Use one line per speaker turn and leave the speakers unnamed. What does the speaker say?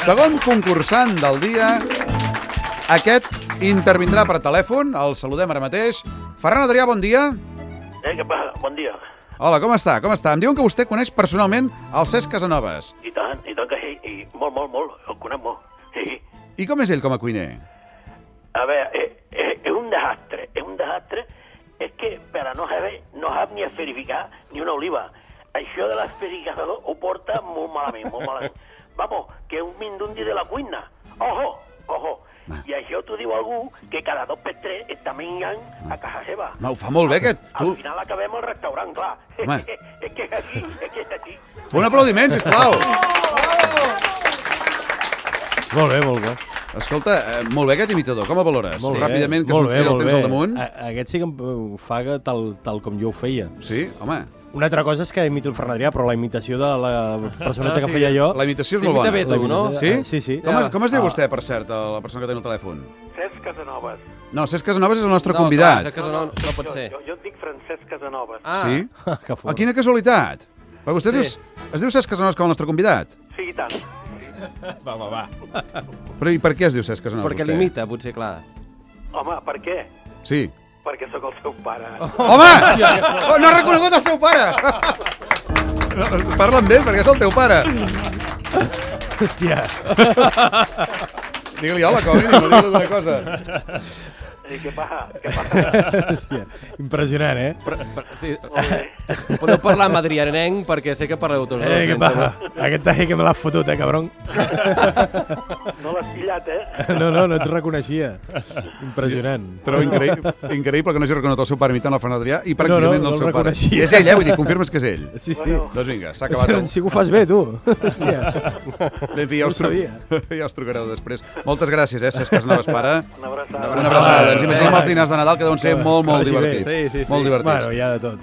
Segon concursant del dia. Aquest intervindrà per telèfon, el saludem ara mateix. Ferran Adrià, bon dia.
Eh, que, pa- bon dia.
Hola, com està? Com està? Em diuen que vostè coneix personalment el Cesc Casanovas.
I tant, i tant que sí, i molt, molt, molt, el conec molt. Sí.
I com és ell com a cuiner?
A veure, eh, eh, és un desastre, és un desastre. És que per a no saber, no sap ni esferificar ni una oliva. Això de l'esferificador ho porta molt malament, molt malament. Vamos, que és un mindundi de la cuina. Ojo, ojo. I això t'ho diu algú que cada dos per tres està menjant a casa seva.
Home, ho fa molt bé, aquest.
Al
Tu-
final acabem al restaurant, clar.
Ah. Home.
és que és així, és que és així.
Un aplaudiment, sisplau.
Molt bé, molt bé.
Escolta, eh, molt bé aquest imitador, com el valores?
Molt bé,
Ràpidament, que
molt
se'ns
bé,
tira el
molt
temps
bé.
al damunt.
A, aquest sí que em eh, fa que tal, tal com jo ho feia.
Sí, home,
Una altra cosa és que imito el Ferran Adrià, però la imitació de la personatge que feia jo...
Ah, eh? la imitació és molt
T'imita
bona.
bé, tu, no?
Sí?
Sí, sí.
Com es, com es diu
Ah.
vostè, per cert, la persona que té el telèfon?
Cesc Casanovas.
No, Cesc Casanovas és el nostre
No, clar,
convidat.
és que no, no pot ser.
jo et dic Francesc Casanovas.
Ah,
Sí?
que fort.
Ah, quina casualitat. Perquè vostè
Sí.
dius, es diu Cesc Casanovas com el nostre convidat?
Sí, i tant.
Va, va, va.
Però i per què es diu Cesc Casanovas,
perquè
vostè?
l'imita, potser, clar.
Home, per què?
Sí.
Perquè sóc el seu pare.
Oh.
Home! Oh, no ha reconegut el seu pare! No, Parla amb ell, perquè és el teu pare.
Hòstia.
Digue-li hola, com a mínim, o digue-li alguna cosa.
I què passa? Què passa?
Hòstia. Impressionant, eh?
Per, sí. Podeu parlar madrianenc perquè sé que parleu tots
Eh, què
junts,
passa? Aquest taje que me l'has fotut, eh, cabron?
No l'has pillat, eh?
No, no, no et reconeixia. Impressionant.
Però increïble, increïble que no hagi reconegut el seu pare imitant el Ferran Adrià i pràcticament el
no el
seu pare.
reconeixia.
I és ell, eh? Vull dir, confirmes que és ell.
Sí, sí.
Bueno.
Doncs vinga, s'ha acabat.
Sí,
El...
sí que ho fas bé, tu. Hòstia.
Bé, en fi, ja us,
ho
tru... ja us trucareu després. Moltes gràcies, eh, Cesc Casanoves, pare.
Una abraçada.
Una abraçada.
Ah,
Ens imaginem els dinars de Nadal que deuen ser molt, molt
que vagi bé.
divertits.
Sí, sí, sí.
Molt divertits.
Bueno, hi ha de tot.